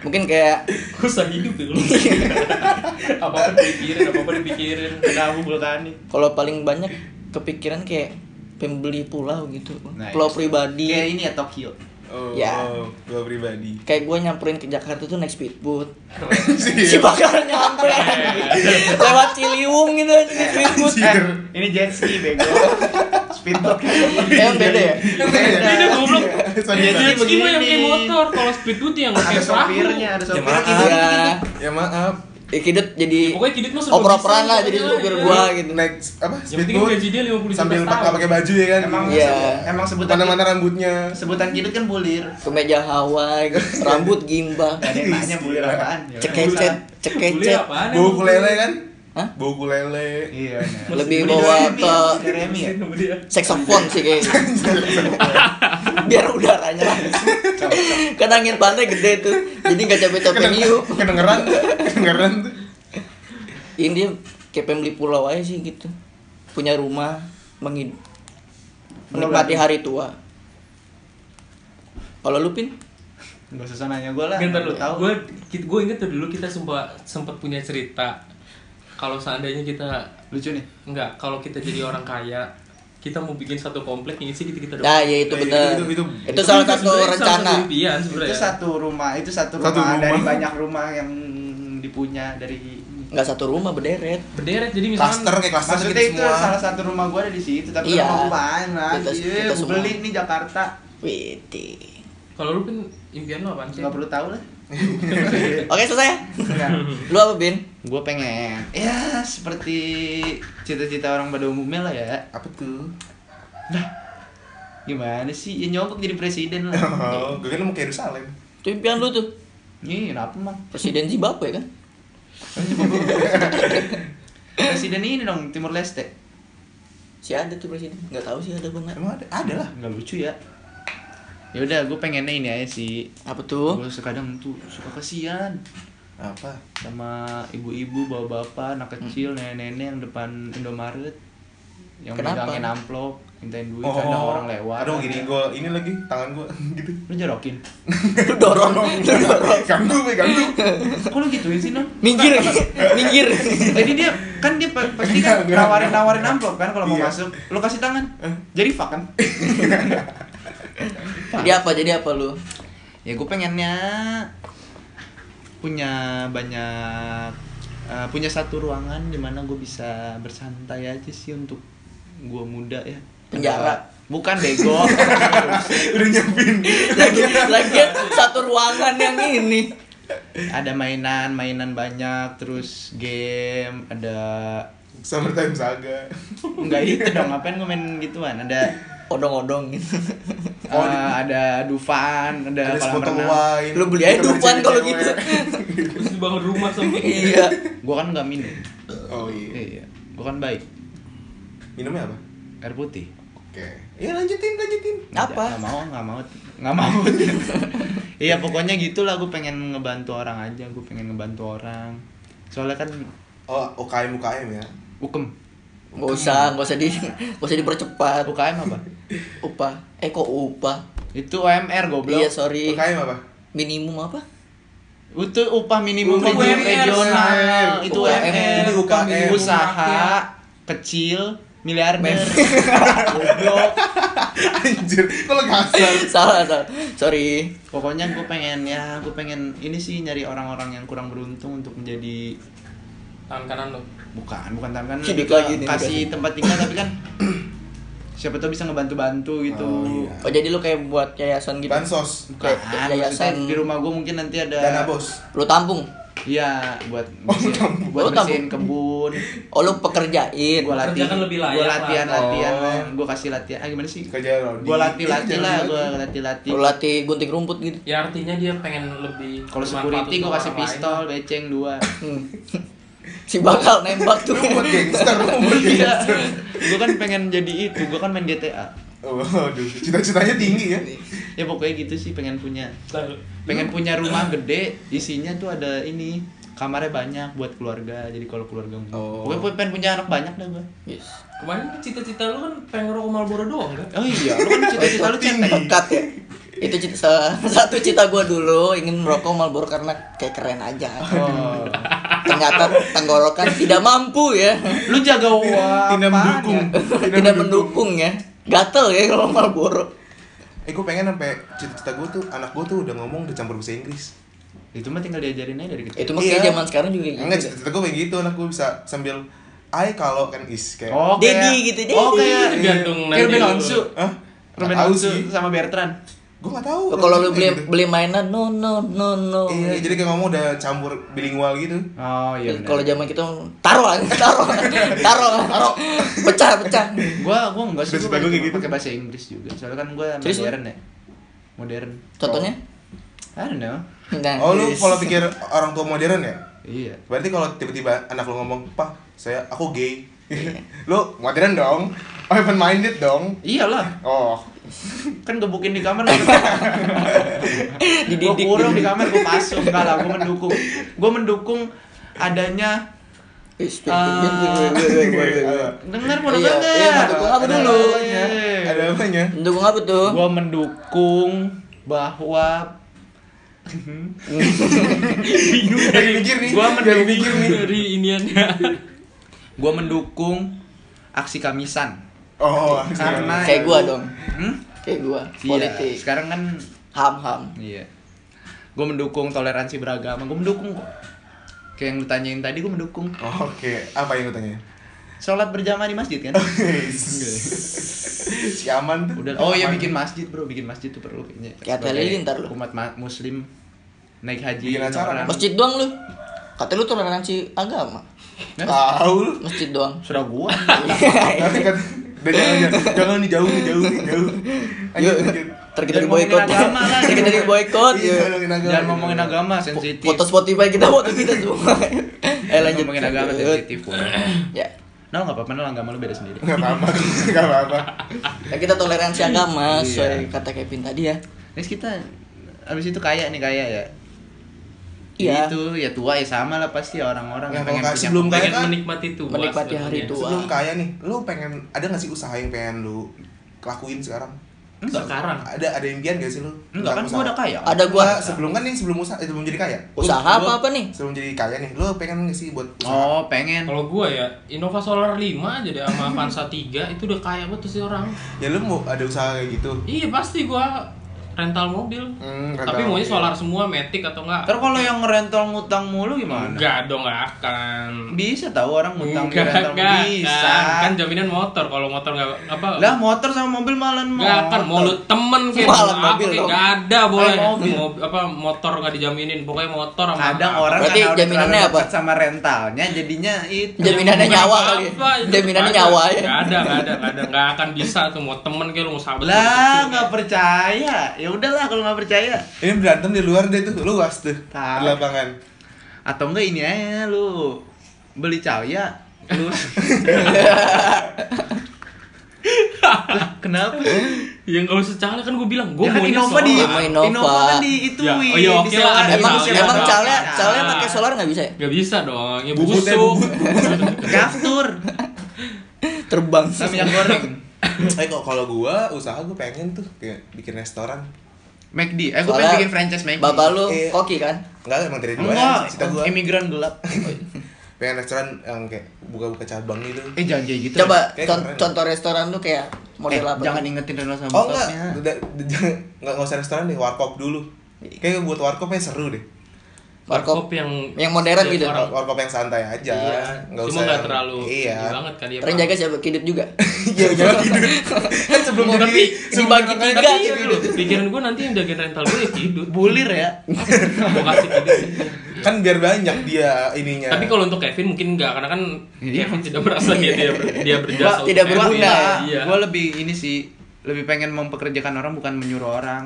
Speaker 4: Mungkin kayak
Speaker 2: susah hidup ya lu apa apa dipikirin apa apa dipikirin
Speaker 1: kok. kena abu vulkanik.
Speaker 4: kalau paling banyak kepikiran kayak pembeli pulau gitu.
Speaker 1: Nice.
Speaker 4: Pulau pribadi.
Speaker 1: Kayak ini ya Tokyo.
Speaker 3: Oh,
Speaker 4: Ya.
Speaker 3: gue pribadi.
Speaker 4: kayak gue nyamperin ke Jakarta tuh naik speedboat
Speaker 2: Iya.
Speaker 4: si bakal nyampe lewat Ciliwung gitu aja naik speedboat
Speaker 1: Eh, ini jet ski bego. Speedboat kan.
Speaker 3: Iya,
Speaker 4: Eh, yang beda ya
Speaker 1: Iya,
Speaker 2: ini goblok
Speaker 3: Sorry,
Speaker 1: Jadi
Speaker 2: Jet ski mah yang kayak
Speaker 1: begini.
Speaker 2: motor kalau speedboat yang
Speaker 1: Ada
Speaker 2: kayak perahu
Speaker 1: sopirnya, ada
Speaker 3: Ya
Speaker 1: sopirnya.
Speaker 3: maaf.
Speaker 4: ya
Speaker 3: Ya maaf.
Speaker 4: ya kidut jadi
Speaker 2: Iya. Ya, pokoknya Kidut mah serba bisa,
Speaker 4: oper-operan Oh, lah jadi
Speaker 2: pokoknya,
Speaker 4: supir
Speaker 2: ya.
Speaker 4: gue gitu
Speaker 3: Naik apa?
Speaker 2: yang penting
Speaker 3: Speedboat.
Speaker 2: gaji dia 50 juta
Speaker 3: Sambil
Speaker 2: setahun.
Speaker 3: nggak pakai baju ya kan.
Speaker 1: Emang
Speaker 4: Iya.
Speaker 1: emang sebutan
Speaker 3: Mana-mana rambutnya.
Speaker 1: sebutan kidut kan bulir.
Speaker 4: ke meja Hawaii rambut gimbal
Speaker 2: Ya,
Speaker 1: Gak ada yang nanya bulir
Speaker 3: Iya.
Speaker 1: apaan. Ya udah,
Speaker 4: cekecet
Speaker 1: nggak
Speaker 2: Kuliah
Speaker 4: cekecet
Speaker 2: apaan
Speaker 3: Bau
Speaker 2: emang?
Speaker 3: kulele kan?
Speaker 4: Hah?
Speaker 3: Bau
Speaker 1: usah.
Speaker 3: kulele.
Speaker 1: Iya. bener.
Speaker 4: lebih
Speaker 1: Beli
Speaker 4: bawa
Speaker 1: Doremi
Speaker 4: ke
Speaker 1: ya, Doremi ya.
Speaker 2: Sama dia.
Speaker 4: saxophone sih kayaknya biar udaranya langsung kan angin pantai gede tuh jadi nggak capek-capek
Speaker 3: Kedeng-
Speaker 4: nyiup
Speaker 3: Kedengeran. Kedengeran tuh.
Speaker 4: ini dia kayak pembeli pulau aja sih gitu punya rumah mengid menikmati hari tua kalau lu pin
Speaker 1: Gak usah nanya gue lah.
Speaker 2: Bentar lu
Speaker 1: tahu.
Speaker 2: Gue gue inget tuh dulu kita sempat sempat punya cerita kalau seandainya kita
Speaker 1: Lucu nih.
Speaker 2: enggak kalau kita jadi orang kaya kita mau bikin satu komplek yang isi kita kita doang.
Speaker 4: nah ya itu
Speaker 3: Nah,
Speaker 4: benar
Speaker 3: itu-
Speaker 4: itu,
Speaker 3: itu-
Speaker 4: salah
Speaker 2: kan
Speaker 4: satu
Speaker 2: sebenarnya
Speaker 4: rencana
Speaker 2: satu impian
Speaker 1: Itu
Speaker 2: sebenarnya.
Speaker 1: satu rumah, itu satu rumah,
Speaker 3: Satu rumah.
Speaker 1: dari banyak rumah yang dipunya dari
Speaker 4: nggak satu rumah berderet
Speaker 2: Berderet jadi misalkan
Speaker 3: Cluster kayak cluster
Speaker 1: Maksudnya
Speaker 3: kita
Speaker 1: itu
Speaker 3: semua.
Speaker 1: salah satu rumah gue ada di situ, tapi
Speaker 4: Iya.
Speaker 1: rumah gue lain lah.
Speaker 4: Kita-
Speaker 1: Iya,
Speaker 4: kita
Speaker 1: gua
Speaker 4: semua.
Speaker 1: beli nih Jakarta.
Speaker 4: Witi
Speaker 2: kalau lu pun impian lu apaan sih?
Speaker 1: Gak perlu tahu lah.
Speaker 3: Eh.
Speaker 4: Oke selesai. ya?
Speaker 3: Hmm.
Speaker 4: Lu apa Bin?
Speaker 1: Gue pengen ya seperti cita-cita orang pada umumnya lah ya.
Speaker 3: Apa tuh?
Speaker 1: Gimana sih? Ya nyobok jadi presiden lah.
Speaker 3: Oh, gue kan mau ke Yerusalem.
Speaker 4: Itu impian lu tuh.
Speaker 1: Nih, kenapa mang?
Speaker 4: Presiden Zimbabwe kan?
Speaker 1: Presiden ini dong Timur Leste.
Speaker 4: Si ada tuh presiden. Enggak tahu sih ada apa enggak.
Speaker 3: Emang ada? Ada lah.
Speaker 1: Nggak lucu ya. Ya udah, gue pengennya ini aja sih.
Speaker 4: Apa tuh?
Speaker 1: Gue sekadang tuh suka kasihan
Speaker 3: Apa?
Speaker 1: sama ibu-ibu, bapak-bapak, anak kecil, nenek-nenek yang depan Indomaret yang
Speaker 4: Kenapa?
Speaker 1: megangin amplop, mintain duit kadang orang lewat.
Speaker 3: Aduh, Oh. gini gue ini lagi tangan gue gitu.
Speaker 1: Lu jorokin.
Speaker 4: Lu dorong. Lu dorong.
Speaker 3: Ganggu, gue ganggu.
Speaker 1: Kok lu gituin sih, Nom?
Speaker 4: Minggir. Minggir.
Speaker 1: Jadi dia kan dia pa- pasti kan
Speaker 3: Enggak, enggak,
Speaker 1: nawarin nawarin amplop kan kalau mau
Speaker 3: Iya. Eh.
Speaker 1: masuk. Lu kasih tangan. Jadi fak kan?
Speaker 4: Dia apa? Jadi apa lu?
Speaker 1: ya gue pengennya punya banyak eh, punya satu ruangan di mana gue bisa bersantai aja sih untuk gue muda ya
Speaker 4: Penjara.
Speaker 1: bukan bego
Speaker 3: Udah nyiapin.
Speaker 4: Lagi lagi satu ruangan yang ini.
Speaker 1: ada mainan mainan banyak terus game ada
Speaker 3: Summertime Saga.
Speaker 1: enggak itu dong ngapain gue main gituan ada
Speaker 4: Odong-odong gitu.
Speaker 3: Oh,
Speaker 1: eh, ada dufan ada,
Speaker 3: Ada
Speaker 1: kolam
Speaker 3: sepotong
Speaker 1: renang
Speaker 3: wine.
Speaker 4: Lu beli aja
Speaker 3: Kita
Speaker 4: Dufan
Speaker 3: beli
Speaker 4: kalau
Speaker 3: cewek.
Speaker 4: gitu.
Speaker 2: Terus bangun rumah sampai
Speaker 4: Iya.
Speaker 1: gue kan nggak minum
Speaker 3: Oh
Speaker 4: Eh.
Speaker 3: iya.
Speaker 1: iya gue kan baik
Speaker 3: Minumnya apa?
Speaker 1: air putih
Speaker 3: Oke. Ya lanjutin, lanjutin.
Speaker 4: Apa?
Speaker 1: Nggak mau, nggak mau, nggak mau. Iya pokoknya gitulah gue pengen ngebantu orang aja, gue pengen ngebantu orang. Soalnya kan E
Speaker 3: Oh, UKM UKM ya.
Speaker 1: ukem,
Speaker 4: Gak usah, gak usah di gak usah dipercepat.
Speaker 1: UKM E apa?
Speaker 4: Upah. Eh kok upah?
Speaker 1: Itu UMR goblok.
Speaker 4: Iya, sorry.
Speaker 3: UKM apa?
Speaker 4: Minimum apa?
Speaker 1: Itu upah minimum
Speaker 2: Upah UMR,
Speaker 1: region- regional,
Speaker 3: Sam.
Speaker 1: itu
Speaker 4: UMR,
Speaker 1: UMR,
Speaker 3: itu UKM.
Speaker 1: usaha
Speaker 2: Rakyat.
Speaker 1: kecil miliarder. goblok.
Speaker 3: Anjir, kok lo kasar?
Speaker 1: Iya.
Speaker 4: salah, salah. Sorry.
Speaker 1: Pokoknya gue pengen ya, gue pengen ini sih nyari orang-orang yang kurang beruntung untuk menjadi
Speaker 2: tangan kanan lo.
Speaker 1: bukan bukan tangan
Speaker 4: Sidik
Speaker 1: kita
Speaker 4: lagi nih,
Speaker 1: kasih tempat tinggal tapi kan siapa tahu bisa ngebantu-bantu gitu
Speaker 3: Oh, iya.
Speaker 4: Oh jadi lu kayak buat yayasan gitu?
Speaker 3: Bansos.
Speaker 1: bukan
Speaker 4: Kayak
Speaker 1: maksudnya kan
Speaker 4: yayasan.
Speaker 1: di rumah gue mungkin nanti ada
Speaker 3: Dana bos.
Speaker 4: Lu tampung?
Speaker 1: iya buat
Speaker 3: Oh,
Speaker 1: bersihin,
Speaker 3: tampung.
Speaker 1: buat
Speaker 4: Oh, tampung.
Speaker 1: bersihin kebun
Speaker 4: Oh lu pekerjain?
Speaker 1: gue
Speaker 2: Kerja
Speaker 1: latih
Speaker 2: kan lebih layak
Speaker 1: gue latihan
Speaker 2: lah.
Speaker 1: latihan
Speaker 3: Oh.
Speaker 1: gue kasih latihan ah gimana sih
Speaker 3: Kerja rodi.
Speaker 1: gue latih latih
Speaker 3: Kerja
Speaker 1: lah
Speaker 3: rodi.
Speaker 1: gue latih latih
Speaker 4: Lu latih gunting rumput gitu?
Speaker 2: Ya artinya dia pengen lebih
Speaker 1: kalau
Speaker 2: bermanfaat
Speaker 1: security gue
Speaker 2: untuk
Speaker 1: kasih
Speaker 2: orang lain.
Speaker 1: pistol beceng dua
Speaker 4: Hmm. si bakal nembak tuh.
Speaker 3: Lu buat gangster, lu buat
Speaker 1: iya
Speaker 3: gangster.
Speaker 1: gue kan pengen jadi itu gue kan main GTA
Speaker 3: Waduh, Oh, cita-citanya tinggi ya.
Speaker 1: ya pokoknya gitu sih pengen punya
Speaker 2: Lalu,
Speaker 1: pengen
Speaker 3: Hmm.
Speaker 1: punya rumah gede isinya tuh ada ini kamarnya banyak buat keluarga jadi kalau keluarga
Speaker 3: Oh.
Speaker 1: gue pengen punya anak banyak dah gue
Speaker 4: Yes.
Speaker 2: Kemarin cita-cita lu kan pengen ngerokok Marlboro doang kan?
Speaker 1: oh iya lu kan cita-cita lu cetek
Speaker 4: Pekat ya. Itu cita salah satu cita gua dulu ingin merokok Marlboro karena kayak keren aja.
Speaker 1: oh.
Speaker 4: Ternyata tenggorokan tidak mampu ya.
Speaker 1: lu jaga ya? wah
Speaker 3: Tidak mendukung.
Speaker 4: Tidak mendukung ya. Gatel ya kalau Marlboro.
Speaker 3: Eh, gue pengen sampai cita-cita gue tuh anak gue tuh udah ngomong udah campur bahasa Inggris.
Speaker 1: itu mah tinggal diajarin aja dari kecil
Speaker 4: Itu mah
Speaker 3: Iya.
Speaker 4: kayak zaman sekarang juga kayak
Speaker 3: Enggak,
Speaker 4: gitu.
Speaker 3: cita-cita gue kayak gitu anak gue bisa sambil I kalau kan is kayak. Iya.
Speaker 1: oh kayak
Speaker 4: Dedi gitu, Dedi.
Speaker 1: oh kayak
Speaker 2: Tergantung
Speaker 1: kayak
Speaker 2: nanti
Speaker 1: Ruben
Speaker 2: lu.
Speaker 1: Onsu
Speaker 3: Hah?
Speaker 1: Ruben
Speaker 3: Nggak tahu
Speaker 1: Onsu
Speaker 3: sih.
Speaker 1: sama Bertrand
Speaker 3: Gue gak tahu.
Speaker 4: Oh, Kalau lu
Speaker 3: kayak
Speaker 4: beli Oh,
Speaker 3: gitu.
Speaker 4: beli mainan no no no no. Gitu.
Speaker 3: Iya, jadi kayak ngomong udah campur bilingual gitu.
Speaker 1: oh iya benar
Speaker 4: Kalau zaman kita taruh aja, taruh, taruh, taruh, pecah, pecah.
Speaker 1: gue gue enggak sih
Speaker 3: Bahasa
Speaker 1: gue
Speaker 3: gua kayak gitu.
Speaker 1: pakai bahasa Inggris juga soalnya kan gue
Speaker 4: Serius lu?
Speaker 1: modern ya modern
Speaker 4: Contohnya?
Speaker 1: I don't know
Speaker 4: Nah,
Speaker 3: Oh, lu
Speaker 4: yes.
Speaker 3: kalau pikir orang tua modern ya?
Speaker 1: iya
Speaker 3: Berarti kalau tiba-tiba anak lu ngomong, "Pak, saya aku gay." lu modern dong. Open minded dong.
Speaker 1: iyalah
Speaker 3: Oh,
Speaker 1: kan gebukin di kamar gue
Speaker 4: Dididik,
Speaker 1: kurung Oh, di
Speaker 4: dididik.
Speaker 1: kamar gue masuk enggak lah gue mendukung gue mendukung adanya
Speaker 4: Wis, wis,
Speaker 1: Ah.
Speaker 4: wis, wis, wis,
Speaker 3: Iya,
Speaker 4: wis, wis, wis, wis.
Speaker 1: dengar mau
Speaker 4: Iya,
Speaker 1: denger
Speaker 4: iya, mendukung apa
Speaker 1: Ada
Speaker 4: dulu?
Speaker 1: apanya?
Speaker 3: ada apanya?
Speaker 4: Mendukung apa tuh?
Speaker 1: gue mendukung bahwa
Speaker 2: Bingung
Speaker 3: Dari mikir nih.
Speaker 2: Gua
Speaker 3: dari
Speaker 2: mendukung
Speaker 3: mikir nih.
Speaker 2: dari iniannya.
Speaker 1: gue mendukung aksi kamisan
Speaker 3: Oh,
Speaker 1: Karena-
Speaker 4: Kayak gua dong,
Speaker 1: hmm?
Speaker 4: kayak gua.
Speaker 1: Iya,
Speaker 4: Politik,
Speaker 1: sekarang kan
Speaker 4: ham ham.
Speaker 1: iya gue mendukung toleransi beragama gue mendukung kok kayak yang lu tanyain tadi gue mendukung
Speaker 3: Oh, Oke, apa yang lu tanya?
Speaker 1: sholat berjamaah di masjid
Speaker 4: Oh,
Speaker 1: kan
Speaker 4: iya.
Speaker 3: si aman tuh.
Speaker 1: Udah, oh iya
Speaker 3: Aman.
Speaker 4: Ya,
Speaker 1: bikin masjid bro, bikin masjid tuh perlu kayaknya.
Speaker 4: Kayak ada
Speaker 1: Sebagai
Speaker 4: lilin ntar lu.
Speaker 1: Umat ma- muslim naik haji
Speaker 3: Bikin acara.
Speaker 1: orang.
Speaker 4: Masjid doang lu. Kata lu toleransi agama.
Speaker 3: Nah. Tahu lu.
Speaker 4: Masjid doang.
Speaker 1: Sudah gua.
Speaker 3: Nanti kan udah jangan jangan. jangan nih jauh nih jauh nih jauh. Lanjut,
Speaker 4: Yuk,
Speaker 3: lanjut.
Speaker 4: ntar kita
Speaker 1: Jangan
Speaker 4: diboykot.
Speaker 1: ngomongin agama lah.
Speaker 4: Ntar kita diboykot.
Speaker 3: Iya,
Speaker 4: yuk.
Speaker 3: ngomongin agama.
Speaker 1: Jangan ngomongin agama sensitif.
Speaker 4: Foto Spotify kita foto kita semua. Eh lanjut.
Speaker 1: Ngomongin agama
Speaker 4: Lanjut.
Speaker 1: sensitif.
Speaker 4: Ya.
Speaker 1: Nah, enggak apa-apa, nah, agama lu beda sendiri.
Speaker 3: Nggak apa-apa, nggak apa-apa.
Speaker 4: Ya, kita toleransi agama
Speaker 1: Iya.
Speaker 4: sesuai kata Kevin tadi ya.
Speaker 1: Terus kita habis itu kaya nih kaya ya.
Speaker 4: Iya.
Speaker 1: Itu ya tua ya sama lah pasti orang-orang
Speaker 3: Ya,
Speaker 1: yang
Speaker 3: kalau
Speaker 1: pengen
Speaker 3: kasih
Speaker 1: punya
Speaker 3: belum kaya
Speaker 2: pengen
Speaker 3: kan.
Speaker 2: menikmati tuas
Speaker 4: Menikmati hari
Speaker 2: sebenarnya.
Speaker 4: tua.
Speaker 3: Sebelum kaya nih, lu pengen ada nggak sih usaha yang pengen lu lakuin sekarang?
Speaker 2: Enggak, sekarang
Speaker 3: Ada ada impian gak sih lu?
Speaker 1: Enggak kan gua udah kaya.
Speaker 4: Ada
Speaker 3: Gua
Speaker 4: gua
Speaker 3: sebelum kan nih sebelum usaha eh, sebelum jadi kaya.
Speaker 4: usaha apa apa nih?
Speaker 3: Sebelum jadi kaya nih, lu pengen nggak sih buat usaha?
Speaker 1: Oh, pengen.
Speaker 2: kalau gua ya Innova Solar 5 aja deh sama Avanza 3 itu udah kaya banget tuh sih orang
Speaker 3: Ya lu mau ada usaha kayak gitu.
Speaker 2: iya pasti gua rental mobil
Speaker 3: Hmm, rental
Speaker 2: tapi maunya
Speaker 3: mobil.
Speaker 2: solar semua metik atau enggak
Speaker 1: Ntar kalau yang ngerental ngutang mulu gimana?
Speaker 2: enggak dong enggak akan
Speaker 1: Bisa tahu orang ngutang
Speaker 2: Enggak,
Speaker 1: rental
Speaker 2: enggak
Speaker 1: bisa.
Speaker 2: akan. Kan jaminan motor kalau motor enggak apa.
Speaker 1: Lah motor sama mobil malah
Speaker 2: enggak akan mau lu kan temen kayak
Speaker 4: Malah
Speaker 2: mau apa
Speaker 4: mobil
Speaker 2: kayak
Speaker 4: dong.
Speaker 2: enggak ada boleh.
Speaker 1: Kayak mobil.
Speaker 2: Mau apa motor enggak dijaminin, pokoknya motor sama
Speaker 1: Kadang orang
Speaker 4: Berarti
Speaker 1: karena udah
Speaker 4: jaminannya
Speaker 1: terlalu
Speaker 4: apa?
Speaker 1: dekat sama rentalnya jadinya itu.
Speaker 4: Jamin- Jaminannya nyawa kali. Jaminannya nyawa ya.
Speaker 2: Enggak ada, enggak ada, enggak ada. Enggak akan bisa tuh mau temen kayak lu mau sahabat.
Speaker 1: Lah,
Speaker 2: enggak
Speaker 1: nggak percaya. Ya udahlah kalau nggak percaya.
Speaker 3: Ini berantem di luar deh tuh, luas tuh.
Speaker 1: Tahu.
Speaker 3: Di lapangan.
Speaker 1: Atau enggak ini aja lu beli cahaya lu. Lah, kenapa sih?
Speaker 2: Ya enggak usah cahaya kan gue bilang, gue
Speaker 1: Ya kan
Speaker 2: maunya
Speaker 1: Innova di
Speaker 4: Sama
Speaker 2: solar.
Speaker 4: Innova.
Speaker 1: Innova kan Nah. di itu
Speaker 2: Ya, oh iya, oke lah,
Speaker 1: Ah,
Speaker 2: ada
Speaker 4: Emang
Speaker 2: Misalnya
Speaker 4: emang
Speaker 1: iya.
Speaker 2: ada-
Speaker 4: calnya
Speaker 2: ada.
Speaker 4: calnya pakai solar nggak bisa ya?
Speaker 2: Enggak bisa dong. Ya
Speaker 3: Bubut
Speaker 2: busuk.
Speaker 3: ya, bubut,
Speaker 1: Kastur
Speaker 4: Terbang.
Speaker 1: sama minyak goreng.
Speaker 3: Eh kok kalau gua usaha gua pengen tuh kayak bikin restoran.
Speaker 1: McD. Eh, gue pengen
Speaker 4: Soalnya
Speaker 1: bikin franchise McD.
Speaker 4: Bapak lu
Speaker 3: Iya.
Speaker 4: koki kan?
Speaker 3: Enggak emang dari dulu aja
Speaker 1: Enggak,
Speaker 3: cita gua.
Speaker 1: imigran gelap.
Speaker 3: Pengen restoran yang kayak buka-buka cabang gitu.
Speaker 1: Eh, jangan kayak gitu.
Speaker 4: Coba
Speaker 3: Kayak
Speaker 4: con-
Speaker 3: iya, keren.
Speaker 4: contoh restoran tuh kayak
Speaker 1: Eh,
Speaker 4: model apa?
Speaker 1: jangan ingetin Reno sama
Speaker 3: Oh enggak,
Speaker 1: bokapnya.
Speaker 3: udah jangan enggak enggak usah restoran deh, warkop dulu.
Speaker 2: Iya.
Speaker 3: Kayaknya buat warkopnya seru deh.
Speaker 2: Warkop
Speaker 4: Warkop
Speaker 2: yang
Speaker 4: yang modern gitu.
Speaker 2: Orang-
Speaker 3: Warkop yang santai aja.
Speaker 2: Iya,
Speaker 3: Nggak
Speaker 2: cuma
Speaker 3: usah
Speaker 2: nggak
Speaker 3: yang-
Speaker 2: terlalu
Speaker 3: Iya.
Speaker 2: ini banget kali ya.
Speaker 4: Terus jaga siapa? Kidit juga.
Speaker 3: Iya, jangan tidur. Kan sebelum
Speaker 4: Tapi
Speaker 3: jadi sebelum
Speaker 4: dibagi
Speaker 3: jadi
Speaker 4: tiga.
Speaker 3: kaya,
Speaker 2: Iya dulu, pikiran gue nanti yang jagain rental gue ya kidut.
Speaker 1: Bulir ya.
Speaker 2: Gue kasih kidut.
Speaker 3: Kan biar banyak dia
Speaker 4: Iya.
Speaker 3: ininya.
Speaker 2: Tapi kalau untuk Kevin mungkin enggak karena kan
Speaker 1: Iya.
Speaker 2: Kevin tidak merasa dia dia, ber- dia
Speaker 4: Gua
Speaker 2: berjasa. untuk
Speaker 4: tidak
Speaker 2: Kevin.
Speaker 4: berguna.
Speaker 2: Iya.
Speaker 1: Gue lebih ini sih lebih pengen mempekerjakan orang bukan menyuruh orang.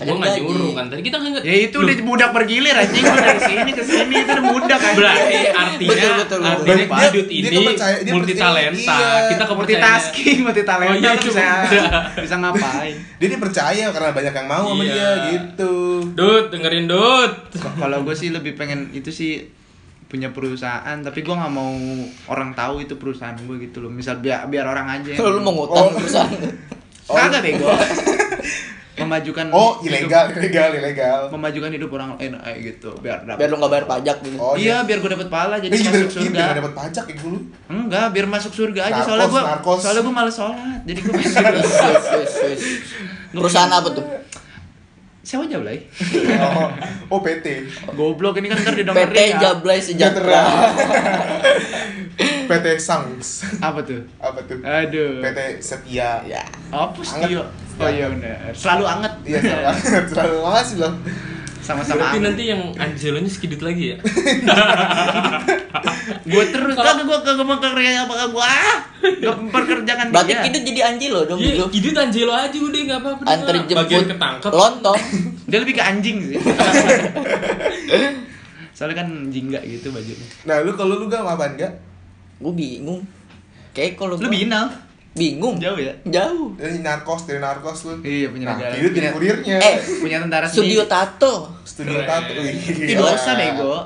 Speaker 2: Gue nggak nyuruh kan. Tadi kita nggak.
Speaker 1: Ya itu udah budak bergilir anjing Gua dari sini ke sini itu udah budak anjing.
Speaker 2: Berarti
Speaker 4: Betul,
Speaker 2: artinya
Speaker 4: betul, betul.
Speaker 2: artinya
Speaker 3: Dia-
Speaker 2: kidut
Speaker 3: dia
Speaker 2: ini
Speaker 3: kepercaya- dia
Speaker 2: multi talenta.
Speaker 3: percaya- iya.
Speaker 2: Kita kepercayaan.
Speaker 1: multitasking, multitalenta
Speaker 2: Oh, iya,
Speaker 1: lu
Speaker 2: itu
Speaker 1: bisa
Speaker 2: budak.
Speaker 1: bisa ngapain.
Speaker 3: dia ini percaya karena banyak yang mau sama
Speaker 2: Iya.
Speaker 3: dia gitu.
Speaker 2: Dut, dengerin Dut.
Speaker 1: K- Kalau gue sih lebih pengen itu sih punya perusahaan tapi gue nggak mau orang tahu itu perusahaan gue gitu loh misal biar biar orang aja yang-
Speaker 4: Kalau lu mau
Speaker 3: Oh.
Speaker 4: ngutang perusahaan.
Speaker 1: kagak bego memajukan
Speaker 3: Oh,
Speaker 1: Hmm, hidup-
Speaker 3: ilegal, ilegal, ilegal.
Speaker 1: memajukan hidup orang lain eh, gitu biar dapat
Speaker 4: Biar lu nggak bayar pajak gitu.
Speaker 3: Oh,
Speaker 1: iya biar gue dapat pahala jadi
Speaker 3: Ini
Speaker 1: masuk
Speaker 3: biar- ini
Speaker 1: surga
Speaker 3: biar dapat pajak ya dulu.
Speaker 1: enggak biar masuk surga aja
Speaker 3: Narkos,
Speaker 1: soalnya gue
Speaker 3: narkos.
Speaker 1: soalnya gue malas sholat jadi gue
Speaker 4: Iya,
Speaker 1: masuk surga.
Speaker 4: Wis, wis, wis, wis. iya, Perusahaan apa tuh?
Speaker 1: sewa jablay
Speaker 3: Oh, oh PT.
Speaker 1: goblok ini kan ntar didengerin
Speaker 4: PT
Speaker 1: ya.
Speaker 4: Jablay
Speaker 3: Sejahtera.
Speaker 4: Sejahtera.
Speaker 3: PT Sangs.
Speaker 1: apa tuh
Speaker 3: Apa tuh?
Speaker 1: aduh
Speaker 3: PT Setia.
Speaker 4: Ya.
Speaker 1: apa sih
Speaker 3: Anget.
Speaker 1: yuk? oh iya bener selalu anget
Speaker 3: Iya, salah. Terlalu lama sih loh.
Speaker 1: sama-sama
Speaker 2: Berarti
Speaker 1: anget
Speaker 2: nanti yang Angelonya sekidut lagi ya.
Speaker 1: gue terus kagak gue kagak mau kerja apa gue ah gak memperkerjakan
Speaker 4: Berarti
Speaker 1: dia
Speaker 4: kidut jadi anjing lo dong
Speaker 2: Iya,
Speaker 4: gitu.
Speaker 2: kidut Angelo aja udah nggak apa-apa. dia
Speaker 4: Antar
Speaker 2: nggak-
Speaker 4: jemput
Speaker 2: bagian ketangkep.
Speaker 4: lontong.
Speaker 1: dia lebih ke anjing sih soalnya kan jingga gitu bajunya
Speaker 3: Nah, lu kalau lu gak apa enggak?
Speaker 4: Gue bingung. Kayak kalau
Speaker 1: lu
Speaker 4: gua-
Speaker 1: binal
Speaker 4: bingung.
Speaker 1: jauh ya
Speaker 4: Jauh.
Speaker 3: Dari narkos, dari narkos lu.
Speaker 1: Iya, punya
Speaker 3: Nah,
Speaker 1: negara.
Speaker 3: Itu jadi
Speaker 1: Punya-
Speaker 3: kurirnya.
Speaker 4: Eh,
Speaker 1: punya tentara
Speaker 4: Studio
Speaker 1: sendiri.
Speaker 4: tato.
Speaker 3: studio tato. Iya. Wih,
Speaker 1: Itu
Speaker 3: gila.
Speaker 1: dosa bego.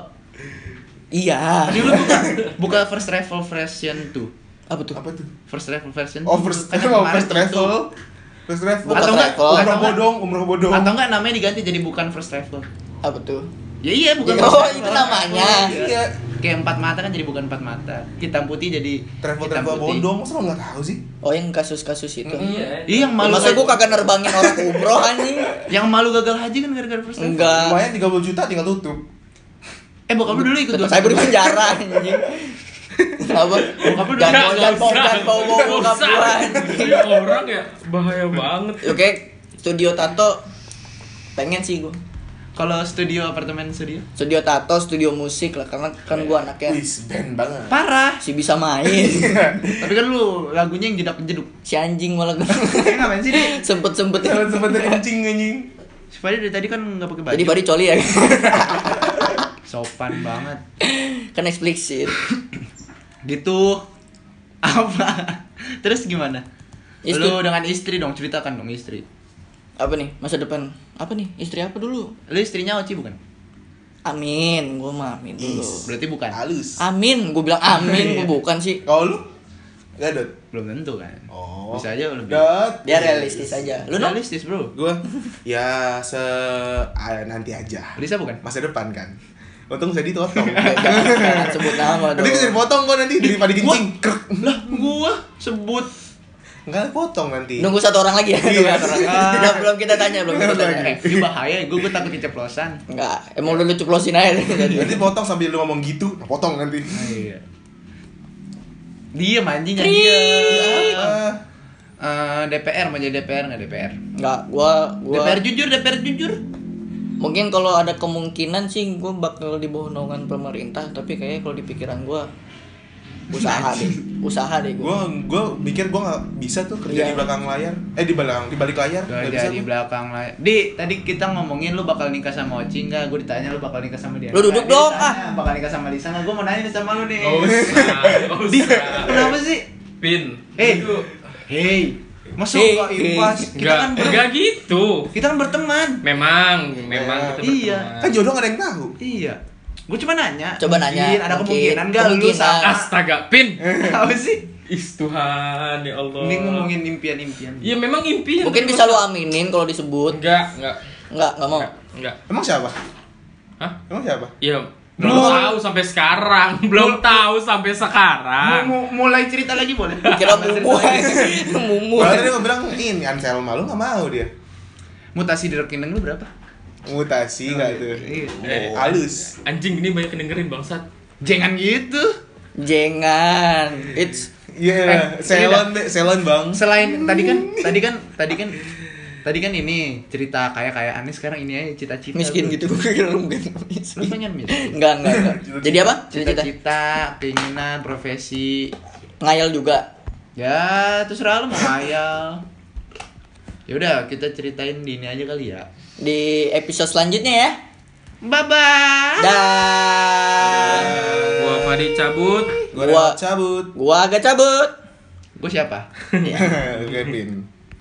Speaker 4: Iya.
Speaker 1: Tadi lu buka buka first travel version tuh.
Speaker 4: Apa tuh?
Speaker 3: Apa tuh?
Speaker 1: First travel version.
Speaker 3: Oh,
Speaker 1: tuh.
Speaker 3: first,
Speaker 1: Kan yang
Speaker 3: oh,
Speaker 1: kemarin
Speaker 3: first travel.
Speaker 1: tutup.
Speaker 3: First travel.
Speaker 4: Bukan
Speaker 1: Atau enggak?
Speaker 4: travel.
Speaker 1: atau
Speaker 3: Umroh
Speaker 1: enggak-
Speaker 3: bodong, umroh bodong.
Speaker 1: Atau enggak namanya diganti jadi bukan first travel.
Speaker 4: Apa tuh?
Speaker 1: Ya iya bukan.
Speaker 4: Oh,
Speaker 1: first
Speaker 4: itu
Speaker 1: travel.
Speaker 4: namanya.
Speaker 3: Iya.
Speaker 1: Kayak empat mata kan jadi bukan empat mata. Hitam putih jadi
Speaker 3: Travel
Speaker 1: hitam
Speaker 3: travel
Speaker 1: putih.
Speaker 3: bodong, masa lu gak tahu sih?
Speaker 4: Oh, yang kasus-kasus itu.
Speaker 2: Iya.
Speaker 1: Iya yang malu.
Speaker 4: Masa gue kagak nerbangin orang umroh anjing?
Speaker 1: Yang malu gagal haji kan gara-gara first travel.
Speaker 4: Enggak.
Speaker 3: Lumayan 30 juta tinggal tutup.
Speaker 1: Eh bokap lu dulu ikut
Speaker 4: Tetap saya beri penjara anjing. Apa?
Speaker 1: Bokap lu
Speaker 4: Jangan
Speaker 1: dulu.
Speaker 4: jangan bawa jangan bawa bawa bokap gua, anjing.
Speaker 2: Ini Iya, orang ya bahaya banget.
Speaker 4: Oke, studio tato pengen sih gua.
Speaker 1: Kalau studio apartemen studio?
Speaker 4: Studio tato, studio musik lah karena kan gua anaknya
Speaker 3: Wis band banget. Iya.
Speaker 1: Parah.
Speaker 4: si bisa main.
Speaker 1: Tapi kan lu lagunya yang jedak jeduk.
Speaker 4: si anjing malah gua.
Speaker 1: Kayak ngapain sih, Di?
Speaker 4: Sempet-sempet ya.
Speaker 3: Jangan sempat kencing anjing.
Speaker 1: Si Fadi dari tadi kan nggak pakai baju.
Speaker 4: Jadi Fadi coli ya.
Speaker 1: Sopan banget.
Speaker 4: kan eksplisit.
Speaker 1: Gitu. Apa? Terus gimana?
Speaker 4: Istri.
Speaker 1: Lu dengan istri dong, ceritakan dong istri.
Speaker 4: Apa nih masa depan? Apa nih istri apa dulu?
Speaker 1: Lu istrinya Oci bukan?
Speaker 4: Amin, gua mah amin dulu.
Speaker 1: Berarti bukan.
Speaker 3: Halus.
Speaker 4: Amin, gua bilang amin, gua bukan sih.
Speaker 3: Kalau lu enggak dot.
Speaker 1: Belum tentu kan.
Speaker 3: Oh.
Speaker 1: Bisa aja lebih.
Speaker 3: Dot.
Speaker 4: Dia realistis aja.
Speaker 1: Lu
Speaker 4: Lu no?
Speaker 1: realistis, Bro.
Speaker 3: Gua ya se ah, nanti aja.
Speaker 1: Lisa bukan?
Speaker 3: Masa depan kan. Untung saya ditotong.
Speaker 4: Jangan
Speaker 1: Iya,
Speaker 4: jangan Kan, sebut nama
Speaker 3: nanti bisa
Speaker 4: dong.
Speaker 3: dipotong kok nanti daripada kencing. Krek.
Speaker 1: Lah, gua sebut
Speaker 3: Enggak potong nanti.
Speaker 4: Nunggu satu orang lagi ya. Nunggu satu orang. Belum belum kita tanya, belum kita tanya.
Speaker 1: Eh, ini bahaya, gue gue takut keceplosan.
Speaker 4: Enggak, emang lu lu ceplosin aja.
Speaker 3: Nanti potong sambil lu ngomong gitu, nah, potong nanti.
Speaker 1: Iya. Diem anjing yang diem.
Speaker 3: Ah,
Speaker 1: Eh, DPR mau jadi DPR nggak DPR?
Speaker 4: Enggak, gua gua
Speaker 1: DPR jujur, DPR jujur.
Speaker 4: mungkin kalau ada kemungkinan sih gua bakal di bawah naungan pemerintah, tapi kayaknya kalau di pikiran gua usaha deh. Usaha deh gua.
Speaker 3: gua gua mikir gua nggak bisa tuh kerja
Speaker 4: Iya.
Speaker 3: di belakang layar. Eh di belakang di balik layar.
Speaker 1: Gak
Speaker 3: Nggak bisa.
Speaker 1: jadi
Speaker 3: tuh.
Speaker 1: belakang lah. Di tadi kita ngomongin lu bakal nikah sama Oci nggak? Gue ditanya lu bakal nikah sama dia.
Speaker 4: Lu
Speaker 1: Nggak,
Speaker 4: duduk
Speaker 1: dia
Speaker 4: dong, ah.
Speaker 1: ditanya, Bakal nikah sama Lisa nggak? Gue mau nanya nih sama lu nih.
Speaker 2: Gak usah, gak usah.
Speaker 1: Kenapa sih?
Speaker 2: Pin.
Speaker 1: Eh,
Speaker 2: Itu
Speaker 1: hey, masuk
Speaker 4: Hey,
Speaker 1: gak impas? Kita
Speaker 2: enggak
Speaker 1: kan ber-
Speaker 2: enggak gitu.
Speaker 1: kita kan berteman.
Speaker 2: Memang, memang kita
Speaker 1: Iya.
Speaker 2: berteman.
Speaker 3: Kan jodoh gak ada yang tahu.
Speaker 1: Iya. Gue cuma nanya.
Speaker 4: Coba nanya,
Speaker 1: Mungkin ada
Speaker 4: mungkin.
Speaker 1: kemungkinan nggak lu
Speaker 4: Kemungkinan.
Speaker 1: sama?
Speaker 2: Astaga, Pin.
Speaker 1: Apa sih?
Speaker 2: Is Tuhan, ya Allah.
Speaker 1: Eh. Ini
Speaker 4: Iya.
Speaker 1: ngomongin impian-impian.
Speaker 2: Ya memang impian.
Speaker 4: Mungkin bisa lu Oh. aminin kalau disebut.
Speaker 2: Enggak, enggak.
Speaker 4: Enggak, enggak mau.
Speaker 2: Enggak, enggak.
Speaker 3: Emang siapa?
Speaker 2: Hah?
Speaker 3: Emang siapa?
Speaker 2: Ya belum
Speaker 1: Belum.
Speaker 2: tahu sampai sekarang, belum tahu sampai sekarang.
Speaker 1: Mu- mu- mulai cerita lagi boleh?
Speaker 4: Ah. Kira
Speaker 1: Mulai
Speaker 4: mumu.
Speaker 1: cerita lagi.
Speaker 4: Mumu.
Speaker 3: Padahal tadi gua bilang ini Anselma lu gak mau dia.
Speaker 1: Mutasi di rekening lu berapa?
Speaker 3: Mutasi nggak tuh.
Speaker 1: Iya.
Speaker 2: Eh,
Speaker 3: Halus.
Speaker 2: Anjing ini banyak dengerin bangsat.
Speaker 1: Jangan gitu.
Speaker 4: Jangan. It's
Speaker 3: Iya, selon deh, selon bang.
Speaker 1: Selain
Speaker 4: Hmm.
Speaker 1: tadi kan, tadi kan, tadi kan, tadi kan ini cerita kaya kayaannya sekarang ini aja cita-cita.
Speaker 4: miskin
Speaker 1: lu.
Speaker 4: gitu gue kira lu mungkin
Speaker 1: Lu
Speaker 4: miskin.
Speaker 1: pengen miskin?
Speaker 4: Enggak, enggak, enggak. Jadi apa? Cita-cita.
Speaker 1: Cita-cita, keinginan, profesi.
Speaker 4: Ngayal juga.
Speaker 1: Ya, terserah lu mau ngayal. Ya udah, kita ceritain di ini aja kali ya.
Speaker 4: Di episode selanjutnya ya.
Speaker 1: Bye
Speaker 4: Ah.
Speaker 1: bye.
Speaker 4: Dah.
Speaker 2: Gua Fadi cabut.
Speaker 3: Gua
Speaker 4: Gua-
Speaker 3: udah cabut.
Speaker 4: Gua agak cabut.
Speaker 1: Gue siapa?
Speaker 3: Kevin.